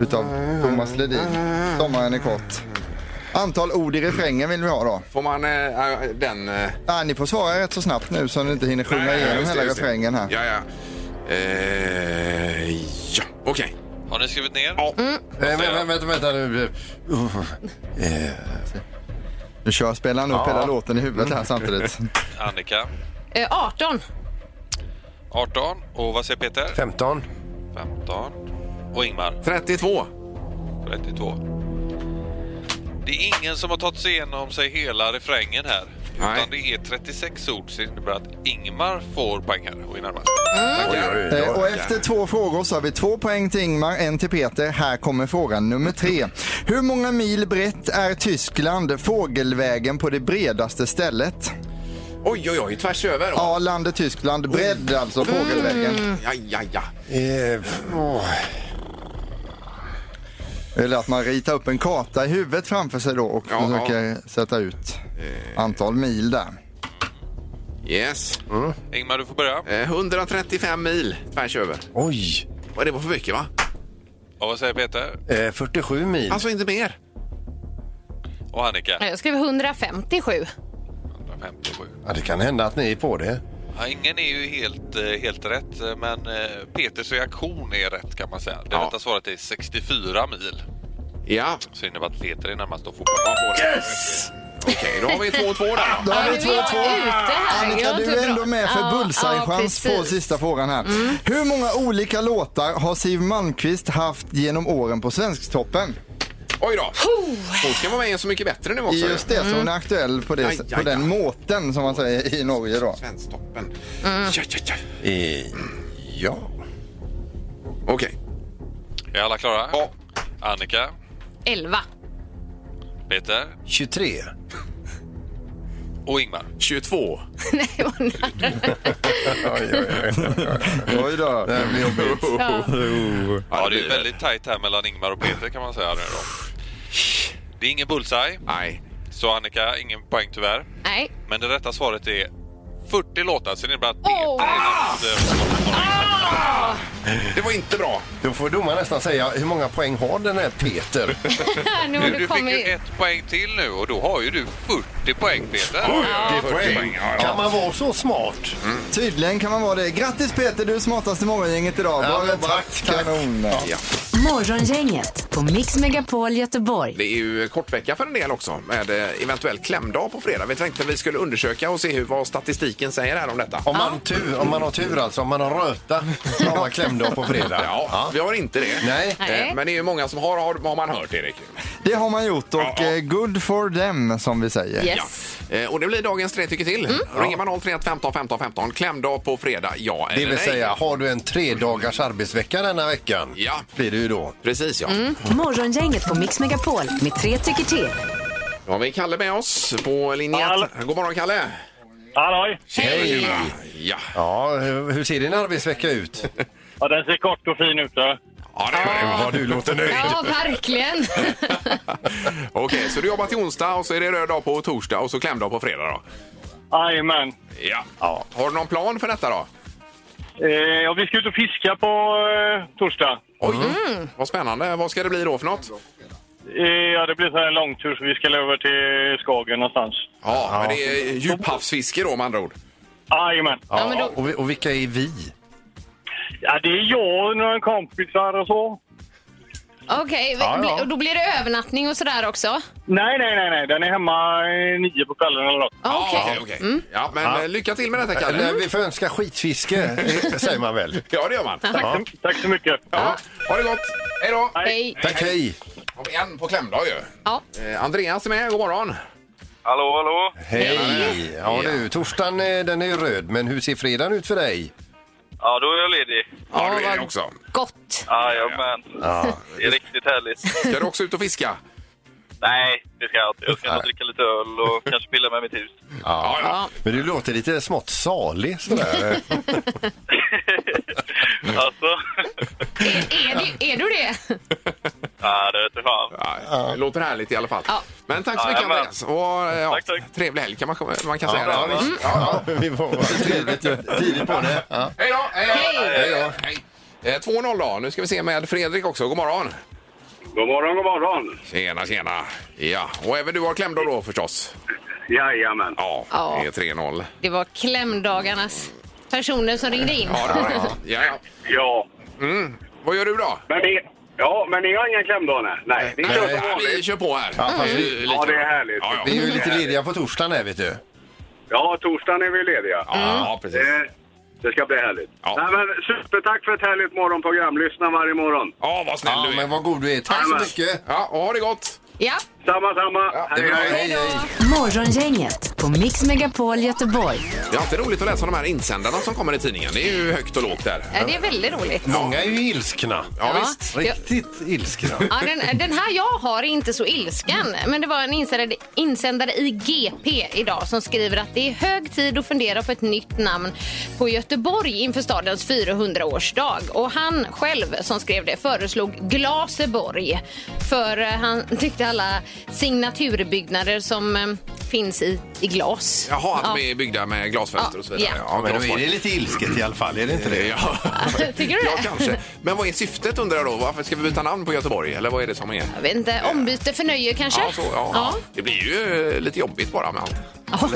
Speaker 4: Utav Thomas Ledin. Sommaren är kort. Antal ord i refrängen vill vi ha då.
Speaker 1: Får man eh, eh, den... Eh,
Speaker 4: Ah, ni får svara rätt så snabbt nu så ni inte hinner sjunga igenom
Speaker 1: just det,
Speaker 4: hela
Speaker 1: just det.
Speaker 4: refrängen här.
Speaker 1: Ja, ja. Eh, ja, okej.
Speaker 9: Har ni skrivit ner?
Speaker 1: Ja.
Speaker 4: Mm.
Speaker 2: Eh, vänta, vänta, vänta nu. Uh, eh,
Speaker 4: Nu kör spelaren upp hela låten i huvudet här samtidigt.
Speaker 9: Annika?
Speaker 3: Eh, 18.
Speaker 9: 18. Och vad säger Peter?
Speaker 2: 15.
Speaker 9: 15. Och Ingmar?
Speaker 1: 32.
Speaker 4: Mm.
Speaker 9: 32. Det är ingen som har tagit sig igenom sig hela refrängen här.
Speaker 1: Nej.
Speaker 9: Utan det är 36 ord, så det innebär att Ingmar får poängen och är närmast.
Speaker 1: Tackar.
Speaker 4: Eh, Och efter två frågor så har vi två poäng till Ingmar, en till Peter. Här kommer fråga nummer tre. Hur många mil brett är Tyskland fågelvägen på det bredaste stället?
Speaker 1: Oj, oj, oj. Tvärs över. Ja,
Speaker 4: Ja, landet Tyskland. Bredd alltså, fågelvägen.
Speaker 1: ja, ja. ja.
Speaker 2: Eh, åh.
Speaker 4: Eller att man ritar upp en karta i huvudet framför sig då och
Speaker 1: Ja,
Speaker 4: försöker sätta ut antal mil där.
Speaker 1: Yes.
Speaker 9: Ingmar, du får börja.
Speaker 1: Eh, 135 mil tvärs över.
Speaker 2: Oj.
Speaker 1: Vad det var för mycket, va?
Speaker 9: Och vad säger Peter?
Speaker 2: Eh, 47 mil.
Speaker 1: Alltså, inte mer.
Speaker 9: Och Annika?
Speaker 3: Jag skrev 157.
Speaker 9: 157.
Speaker 2: Ja, det kan hända att ni är på det.
Speaker 9: Ja, ingen är ju helt, eh, helt rätt, eh, men eh, Peters reaktion är rätt kan man säga. Det
Speaker 1: Ja.
Speaker 9: rätta svaret är 64 mil.
Speaker 1: Ja.
Speaker 9: Så innebär att Peter är närmast och får poäng.
Speaker 1: Yes! Okej, då har vi 2-2 där.
Speaker 4: Då
Speaker 1: då.
Speaker 4: har vi
Speaker 3: Ja, nu är jag
Speaker 4: 2-2.
Speaker 3: ute här.
Speaker 4: Annika,
Speaker 3: Jag är
Speaker 4: du
Speaker 3: inte
Speaker 4: är
Speaker 3: bra.
Speaker 4: ändå med för
Speaker 3: Ja, ja,
Speaker 4: bullseye-chans på
Speaker 3: precis. Mm.
Speaker 4: sista frågan här. Hur många olika låtar har Siw Malmkvist haft genom åren på Svensktoppen?
Speaker 1: Oj då! Hon ska vara med i En Så mycket bättre nu också. ju.
Speaker 4: Just det, så hon är aktuell på, det,
Speaker 1: Aj, aj,
Speaker 4: på den
Speaker 1: aj.
Speaker 4: måten som man säger i Norge
Speaker 1: [LAUGHS]
Speaker 4: då.
Speaker 1: Svensktoppen. Ja, ja, ja.
Speaker 2: Eh, ja.
Speaker 1: Okej.
Speaker 9: Är alla klara?
Speaker 1: Ja.
Speaker 9: Annika,
Speaker 3: 11.
Speaker 9: Peter
Speaker 2: 23.
Speaker 9: och Ingmar.
Speaker 1: 22.
Speaker 3: Nej, det var nära.
Speaker 4: Oj då.
Speaker 2: Det här blir jobbigt.
Speaker 9: Ja, det är väldigt tajt här mellan Ingmar och Peter kan man säga nu då. Det är ingen bullseye,
Speaker 1: Nej.
Speaker 9: så Annika, ingen poäng tyvärr.
Speaker 3: Nej.
Speaker 9: Men det rätta svaret är 40 låtar, sen är det bara att
Speaker 3: Åh.
Speaker 9: eh,
Speaker 1: Det var inte bra.
Speaker 2: [LAUGHS] Då får domaren nästan säga hur många poäng har den här Peter?
Speaker 3: nu har
Speaker 9: Du,
Speaker 3: du
Speaker 9: du fick ju
Speaker 3: kommit.
Speaker 9: ett poäng till nu och då har ju du 40 poäng Peter.
Speaker 2: Ja, 40
Speaker 1: poäng,
Speaker 2: poäng. Mm.
Speaker 1: ja, ja.
Speaker 2: Kan man vara så smart?
Speaker 4: Tydligen kan man vara det. Grattis Peter, du är smartast i morgongänget idag.
Speaker 2: Ja,
Speaker 4: Bra
Speaker 2: men
Speaker 4: jobbat.
Speaker 2: tack, tack.
Speaker 4: Kanon.
Speaker 5: Morgongänget på Mix Megapol Göteborg.
Speaker 1: Det är ju kort vecka för en del också med eh, eventuell klämdag på fredag. Vi tänkte att vi skulle undersöka och se hur, vad statistiken säger här om detta.
Speaker 2: Om man, tur, om man har tur alltså, om man har röta, så har man klämdag på fredag.
Speaker 1: Ja, vi har inte det.
Speaker 2: Nej.
Speaker 3: Nej.
Speaker 1: Eh, Men det är ju många som har, har, har man hört Erik.
Speaker 4: Det har man gjort och
Speaker 1: Ja, ja.
Speaker 4: eh, good for them som vi säger.
Speaker 3: Yes.
Speaker 1: Eh, Och det blir dagens tre tycker till. Ringer man 031 15 15 15, klämdag på fredag, ja eller
Speaker 2: Det vill
Speaker 1: nej?
Speaker 2: säga, har du en tre dagars arbetsvecka denna veckan?
Speaker 1: Ja.
Speaker 2: Blir det ju då.
Speaker 1: Precis ja.
Speaker 5: Morgongänget på Mix Megapol med tre tycker till.
Speaker 1: Då har vi Kalle med oss på linje
Speaker 7: Hallå.
Speaker 1: 1. God morgon Kalle!
Speaker 7: Halloj!
Speaker 2: Hej!
Speaker 1: Ja,
Speaker 2: Ja, hur hur ser din arbetsvecka ut?
Speaker 7: Ja, den ser kort och fin ut. Då.
Speaker 1: ja det gör det.
Speaker 2: Ja, du låter nöjd.
Speaker 3: Ja, verkligen.
Speaker 1: [LAUGHS] Okej, så du jobbar till onsdag och så är det röd dag på torsdag och så klämdag på fredag då?
Speaker 7: Jajamän.
Speaker 1: Ja. Har du någon plan för detta då?
Speaker 7: Eh, ja, vi ska ut och fiska på eh, torsdag.
Speaker 1: Oj, Mm. vad spännande. Vad ska det bli då för något?
Speaker 7: Eh, ja, det blir så här en långtur så vi ska över till Skagen någonstans.
Speaker 1: Ja, Men det är djuphavsfiske då med andra ord.
Speaker 7: Jajamän.
Speaker 3: Ja, men då-
Speaker 2: och, vi- och vilka är vi?
Speaker 7: Ja, det är jag och några kompisar och så.
Speaker 3: Okej,
Speaker 2: Ja, ja.
Speaker 3: och då blir det övernattning och sådär också?
Speaker 7: Nej, nej, nej, nej. Den är hemma eh, nio på kvällen eller något.
Speaker 3: Ja, Okej.
Speaker 1: Ja, okej. Ja, men eh, lycka till med detta
Speaker 2: Eller,
Speaker 1: Kalle.
Speaker 2: vi får önska skitfiske, eh, säger man [LAUGHS] väl?
Speaker 1: Ja, det gör man. Ja.
Speaker 7: Tack, så- tack så mycket.
Speaker 1: Ha det gott! Hej då!
Speaker 3: Hej.
Speaker 2: Tack, hej!
Speaker 1: Har vi en på klämdag ju.
Speaker 3: Ja.
Speaker 1: Eh, Andreas är med. God morgon!
Speaker 7: Hallå, hallå.
Speaker 2: Hej! Ja du, torsdagen eh, den är ju röd, men hur ser fredagen ut för dig?
Speaker 7: Ja, då är jag ledig.
Speaker 1: Ja, du är
Speaker 3: vad
Speaker 1: det också.
Speaker 3: Gott.
Speaker 7: Jajamän. Det är riktigt härligt.
Speaker 1: Ska du också ut och fiska?
Speaker 7: Nej, det ska jag inte. Jag ska nog dricka lite öl och kanske pilla med mitt [LAUGHS] hus.
Speaker 1: Ja, ja.
Speaker 2: Men du låter lite smått salig sådär.
Speaker 7: alltså,
Speaker 3: Är, du- är du det?
Speaker 7: nej, det vete fan.
Speaker 1: Ja, det låter härligt i alla fall.
Speaker 3: Ja.
Speaker 1: Men tack så mycket
Speaker 7: Jajamän.
Speaker 1: Andreas. Och, eh, ja,
Speaker 7: Tack, tack.
Speaker 1: Trevlig helg kan man, man kan säga.
Speaker 2: Ja, Mm.
Speaker 1: det.
Speaker 2: visst. ja, vi får vara [LAUGHS] trevligt tidigt på det. Ja.
Speaker 1: Hej då! Hej då!
Speaker 3: Hej.
Speaker 1: då. Hej. Eh, 2-0 då. Nu ska vi se med Fredrik också. God morgon!
Speaker 7: God morgon, god morgon.
Speaker 1: Tjena, tjena! Ja, och även du har klämdag då förstås?
Speaker 7: Jajamän.
Speaker 1: Ja,
Speaker 3: Ja.
Speaker 1: det är 3-0.
Speaker 3: Det var klämdagarnas personer som ringde in.
Speaker 1: Ja, det var det. Ja, ja.
Speaker 7: Ja,
Speaker 1: Vad gör du då?
Speaker 7: men det... Ja, men ni har ingen klämdag? nej? Nej, ni kör som
Speaker 1: vi
Speaker 7: vanligt.
Speaker 1: kör på här.
Speaker 2: Ja, fast vi-
Speaker 1: lite-
Speaker 7: Ja, det är härligt.
Speaker 1: Ja,
Speaker 2: Vi
Speaker 1: ja.
Speaker 2: är ju lite lediga på torsdagen här, vet du.
Speaker 7: Ja, torsdagen är vi lediga.
Speaker 3: Mm.
Speaker 1: ja precis.
Speaker 7: Eh, Det ska bli härligt.
Speaker 1: Ja.
Speaker 7: Nej, men, supertack för ett härligt morgonprogram. Lyssna varje morgon.
Speaker 1: Ja, vad snäll
Speaker 2: Ja,
Speaker 1: du
Speaker 2: men
Speaker 1: är.
Speaker 2: vad god du är. Tack så
Speaker 7: Jajamän.
Speaker 2: mycket!
Speaker 1: Ja, och ha det gott!
Speaker 3: Ja.
Speaker 7: Samma, samma.
Speaker 2: Det är bra. Hej, hej!
Speaker 5: Morgongänget på Mix Megapol Göteborg.
Speaker 1: Det är alltid roligt att läsa de här insändarna som kommer i tidningen. Det är ju högt och lågt där.
Speaker 3: Ja, det är väldigt roligt.
Speaker 2: Många är ju ilskna.
Speaker 1: Ja,
Speaker 3: Ja.
Speaker 1: visst.
Speaker 2: Riktigt ilskna.
Speaker 3: Ja, den, den här jag har är inte så ilsken, men det var en insändare, insändare i GP idag som skriver att det är hög tid att fundera på ett nytt namn på Göteborg inför stadens 400-årsdag. Och han själv som skrev det föreslog Glaseborg för eh, han tyckte alla signaturbyggnader som eh, finns i, i glas.
Speaker 1: Jaha, att
Speaker 3: Ja.
Speaker 1: de är byggda med glasfönster
Speaker 3: Ja,
Speaker 1: och så vidare.
Speaker 3: ja.
Speaker 2: Ja, men då är
Speaker 1: glasfönster.
Speaker 2: det lite ilsket i alla fall, är det inte det?
Speaker 1: Ja.
Speaker 3: [LAUGHS] Tycker du det?
Speaker 1: [LAUGHS] Ja, kanske. Men vad är syftet undrar jag då? Varför ska vi byta namn på Göteborg? Eller vad är det som är?
Speaker 3: Jag vet inte, ombyte för nöje kanske?
Speaker 1: Ja, så, ja.
Speaker 3: Ja.
Speaker 1: Det blir ju eh, lite jobbigt bara med allt.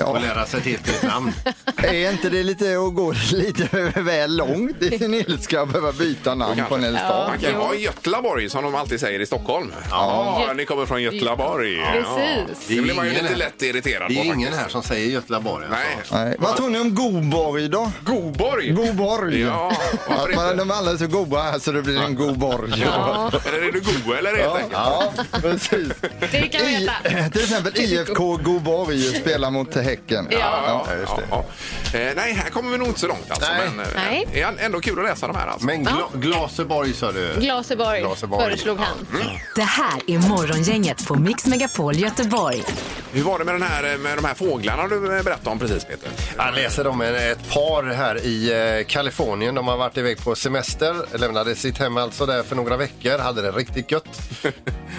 Speaker 2: Och lära sig ett helt nytt namn.
Speaker 4: [LAUGHS] Är inte det lite att gå [LAUGHS] lite väl långt i sin ilska att behöva byta namn på en hel stad?
Speaker 1: Man kan ha Götlaborg som de alltid säger i Stockholm. Ja, ni kommer från Götlaborg.
Speaker 3: Precis.
Speaker 1: Det blir man ju
Speaker 2: Ingen
Speaker 1: lite
Speaker 2: här.
Speaker 1: lätt irriterad
Speaker 2: Det är
Speaker 1: på
Speaker 2: ju ingen
Speaker 1: faktiskt.
Speaker 2: här som säger Göteborg. alltså.
Speaker 1: Nej.
Speaker 4: Nej. Vad tror ni om Goborg då?
Speaker 1: Goborg!
Speaker 4: Goborg.
Speaker 1: Ja, varför
Speaker 4: Att man,
Speaker 1: inte?
Speaker 4: de är alla är så goda här så det blir en god borg. Ja,
Speaker 1: Eller är du go eller helt enkelt?
Speaker 4: ja precis.
Speaker 3: Det kan vi
Speaker 4: I, eh,
Speaker 3: veta.
Speaker 4: till exempel IFK Goborg spelar mot Häcken.
Speaker 1: Ja, just det. Eh, nej, här kommer vi nog inte så långt alltså.
Speaker 2: Nej.
Speaker 1: Men eh,
Speaker 3: Nej.
Speaker 1: är han- ändå kul att läsa de här alltså.
Speaker 2: Men gla Glaseborg sa du.
Speaker 3: Glaseborg,
Speaker 2: Glaseborg.
Speaker 3: föreslog han.
Speaker 1: Mm.
Speaker 5: Det här är Morgongänget på Mix Megapol Göteborg.
Speaker 1: Hur var det med, den här, eh, med de här fåglarna du eh, berättade om precis Peter?
Speaker 2: Jag läser om en- ett par här i eh, Kalifornien. De har varit iväg på semester, lämnade sitt hem alltså där för några veckor, hade det riktigt gött.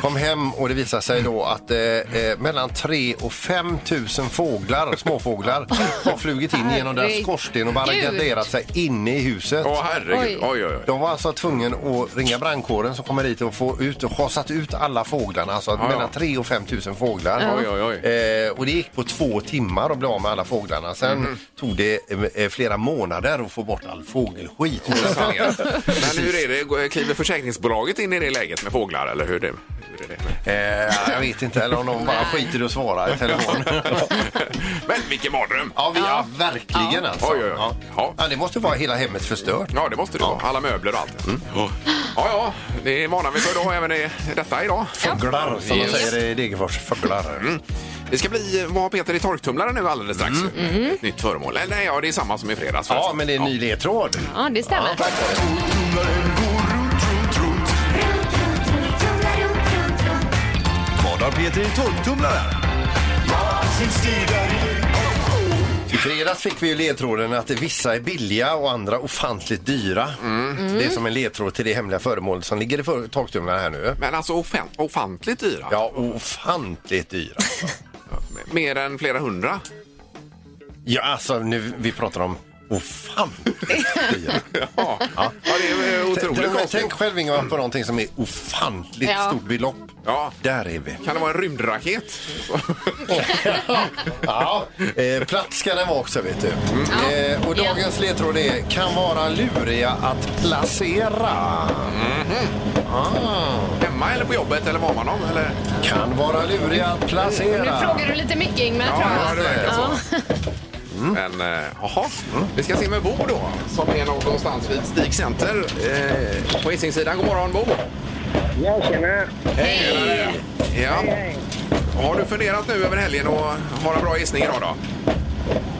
Speaker 2: Kom hem och det visar sig då att eh, eh, mellan 3 och 5 000 fåglar, småfåglar, har flugit in genom deras
Speaker 3: Herregud.
Speaker 2: skorsten och barrikaderat sig inne i huset.
Speaker 1: Åh herregud,
Speaker 3: Oj.
Speaker 1: oj oj oj.
Speaker 2: De var alltså tvungna att ringa brandkåren som kommer hit och få ut och schasat ut alla fåglarna. Alltså
Speaker 1: ja.
Speaker 2: mellan 3 000 och 5 000 fåglar.
Speaker 1: Oj, oj, oj.
Speaker 2: Eh, och det gick på två timmar att bli av med alla fåglarna. Sen
Speaker 1: Mhm.
Speaker 2: tog det eh, flera månader att få bort all fågelskit.
Speaker 1: Sanningar. Men hur är det, kliver försäkringsbolaget in i det läget med fåglar eller hur, det, hur är det?
Speaker 2: eh, jag vet inte, eller om de bara skiter i att svara i
Speaker 1: [LAUGHS]
Speaker 2: telefon.
Speaker 1: Men vilken mardröm!
Speaker 2: ja, vi, ja, verkligen alltså.
Speaker 1: Oj, oj, oj. Ja.
Speaker 2: Ja. Ja, det måste vara hela hemmet förstört.
Speaker 1: Ja, det måste det vara. Alla möbler och allt.
Speaker 2: Mm.
Speaker 1: Ja, ja, det är vana vi för då, även i detta idag.
Speaker 2: Fåglar, som de säger i Degerfors. Fåglar.
Speaker 1: Mm. Det ska bli eh, vad har Peter i torktumlaren nu alldeles strax.
Speaker 3: Mm.
Speaker 1: Ett nytt föremål. Eller nej, ja, det är samma som i fredags.
Speaker 2: Mm. Ja, Alltså,
Speaker 1: förresten.
Speaker 2: men det är en ny ledtråd.
Speaker 3: Ja, det stämmer.
Speaker 10: Vad har Peter i torktumlaren?
Speaker 2: I fredags fick vi ju ledtråden att vissa är billiga och andra ofantligt dyra.
Speaker 3: Mm.
Speaker 2: Det är som en ledtråd till det hemliga föremålet som ligger i för- torktumlaren här nu.
Speaker 1: Men alltså ofan- ofantligt dyra.
Speaker 2: Ja, ofantligt dyra.
Speaker 1: Mer än flera hundra.
Speaker 2: ja, alltså nu, vi pratar om ofantligt
Speaker 3: [LAUGHS]
Speaker 2: dyra.
Speaker 1: Ja, ja det är eh,
Speaker 2: Tänk-
Speaker 1: otroligt
Speaker 2: tänk,
Speaker 1: konstigt.
Speaker 2: tänk själv Ingemar på någonting som är ofantligt
Speaker 3: Ja.
Speaker 2: stort belopp.
Speaker 1: Ja.
Speaker 2: Där är
Speaker 3: [LAUGHS]
Speaker 2: vi.
Speaker 1: Kan det vara en rymdraket? [LAUGHS]
Speaker 2: Ja, eh, platt ska den vara också vet
Speaker 3: Mm.
Speaker 2: du. Eh, och dagens ledtråd är kan vara luriga att placera.
Speaker 1: Hemma eller på jobbet eller var man om? Eller?
Speaker 2: Kan vara luriga att
Speaker 3: Nu
Speaker 2: placera.
Speaker 3: frågar du lite mycket, Ingmar. tror jag.
Speaker 1: Ja, det verkar så.
Speaker 2: Mm.
Speaker 1: Men eh, jaha, vi ska se med Bo då som är någonstans vid Stig Center eh, på Hisingssidan. God morgon Bo!
Speaker 7: Ja, tjena.
Speaker 3: Hej!
Speaker 1: Ja. Har du funderat nu över helgen och har en bra gissning idag då?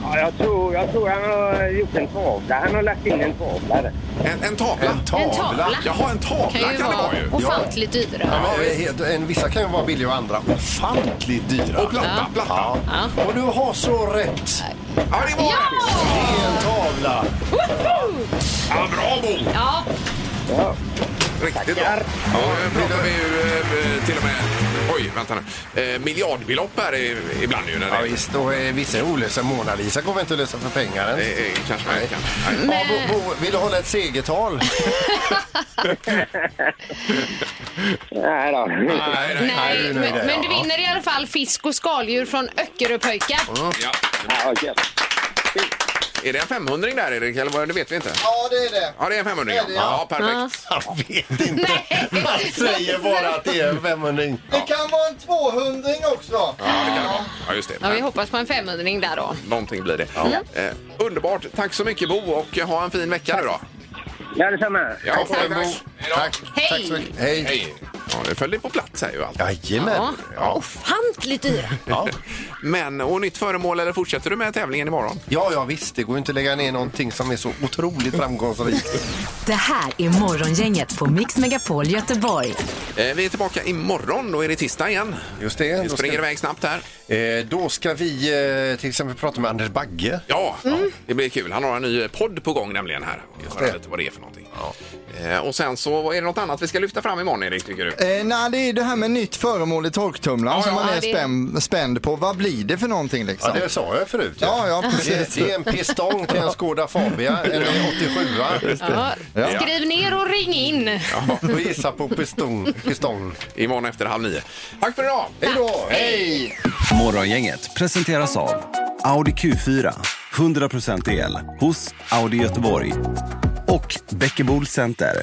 Speaker 7: Ja, jag, tror, jag tror han har gjort en tavla. Han har lagt in en tavla där.
Speaker 1: En, en tavla?
Speaker 2: En tavla.
Speaker 3: En tavla.
Speaker 1: Jaha, en
Speaker 3: Kan
Speaker 1: tavla
Speaker 3: ju
Speaker 1: kan det vara
Speaker 3: vara
Speaker 1: ju.
Speaker 3: ofantligt dyra.
Speaker 2: Ja, men, eh, helt- en, vissa kan ju vara billiga och andra ofantligt dyra.
Speaker 1: Och platta, platta.
Speaker 2: Ja. Och du har så rätt.
Speaker 1: Ja, det var
Speaker 3: Ja!
Speaker 1: det!
Speaker 2: Det är en tavla.
Speaker 1: Ja, bra Bo!
Speaker 3: Ja,
Speaker 1: Riktigt bra. Ja, nu pratar vi ju eh, till och med... Oj, vänta nu. Eh, miljardbelopp här i- ibland ju. När det,
Speaker 2: Ja, visst, och eh, vissa är olösa. Mona Lisa går väl inte att lösa för pengar ens.
Speaker 1: det är, Eh, kanske man kan. Nej.
Speaker 2: Ja, Bo, Bo, vill du hålla ett segertal?
Speaker 7: Nej då.
Speaker 1: Nej, nej, nej.
Speaker 2: nu
Speaker 3: nej,
Speaker 2: är
Speaker 3: men,
Speaker 2: det,
Speaker 3: men du
Speaker 2: ja.
Speaker 3: vinner i alla fall fisk och skaldjur från Öckeröpöjka.
Speaker 1: Ja.
Speaker 7: Ja, okej.
Speaker 1: Är det en 500 där Erik? Eller vad- det vet vi inte.
Speaker 4: Ja, det är det.
Speaker 1: Ja, det är en 500 ja. Ja, perfekt.
Speaker 2: Jag vet inte.
Speaker 3: Nej.
Speaker 2: Man [LAUGHS] säger bara att det är en femhundring.
Speaker 4: Det kan vara en 200 också.
Speaker 1: Ja, det kan det vara. Ja, just det.
Speaker 3: Ja, vi hoppas på en femhundring där då.
Speaker 1: Någonting blir det. Eh, underbart. Tack så mycket Bo och ha en fin vecka nu då.
Speaker 7: Ja, detsamma.
Speaker 1: Ja,
Speaker 2: Tack för
Speaker 1: tack.
Speaker 2: det, Bo.
Speaker 1: Hej då.
Speaker 2: Tack.
Speaker 3: Hej.
Speaker 2: Tack så mycket. Hej.
Speaker 1: Hej. Ja, det föll det på plats här ju allt.
Speaker 2: Jajamän.
Speaker 3: Ja. Ofantligt dyra.
Speaker 2: Ja.
Speaker 1: Men, och nytt föremål eller fortsätter du med tävlingen imorgon?
Speaker 2: ja, ja visst. Det går ju inte att lägga ner någonting som är så otroligt framgångsrikt.
Speaker 5: Det här är Morgongänget på Mix Megapol Göteborg.
Speaker 1: Eh, vi är tillbaka imorgon, då är det tisdag igen.
Speaker 2: Just det.
Speaker 1: Vi
Speaker 2: Då ska-
Speaker 1: springer iväg snabbt här.
Speaker 2: Eh, då ska vi eh, till exempel prata med Anders Bagge.
Speaker 1: Ja, det blir kul. Han har en ny eh, podd på gång nämligen här. Vi får höra lite vad det är för någonting. Eh, och sen så, är det något annat vi ska lyfta fram imorgon Erik, tycker du?
Speaker 4: Eh, nej, det är det här med nytt föremål i torktumlaren som man
Speaker 3: ja,
Speaker 4: är
Speaker 3: det-
Speaker 4: spänd, spänd på. Vad blir det för någonting
Speaker 2: Ja,
Speaker 4: liksom?
Speaker 2: det sa jag förut.
Speaker 4: Ja, ja,
Speaker 2: Det,
Speaker 4: precis.
Speaker 2: det är en pistong till en Skoda Fabia, en 87
Speaker 3: Ja. Skriv ner och ring in.
Speaker 2: och gissa på pistong. pistong.
Speaker 1: Imorgon efter halv nio. Tack för idag!
Speaker 2: Hej då! Hej!
Speaker 10: Morgongänget presenteras av
Speaker 11: Audi Q4, 100% el hos Audi Göteborg. Och Bäckebol Center.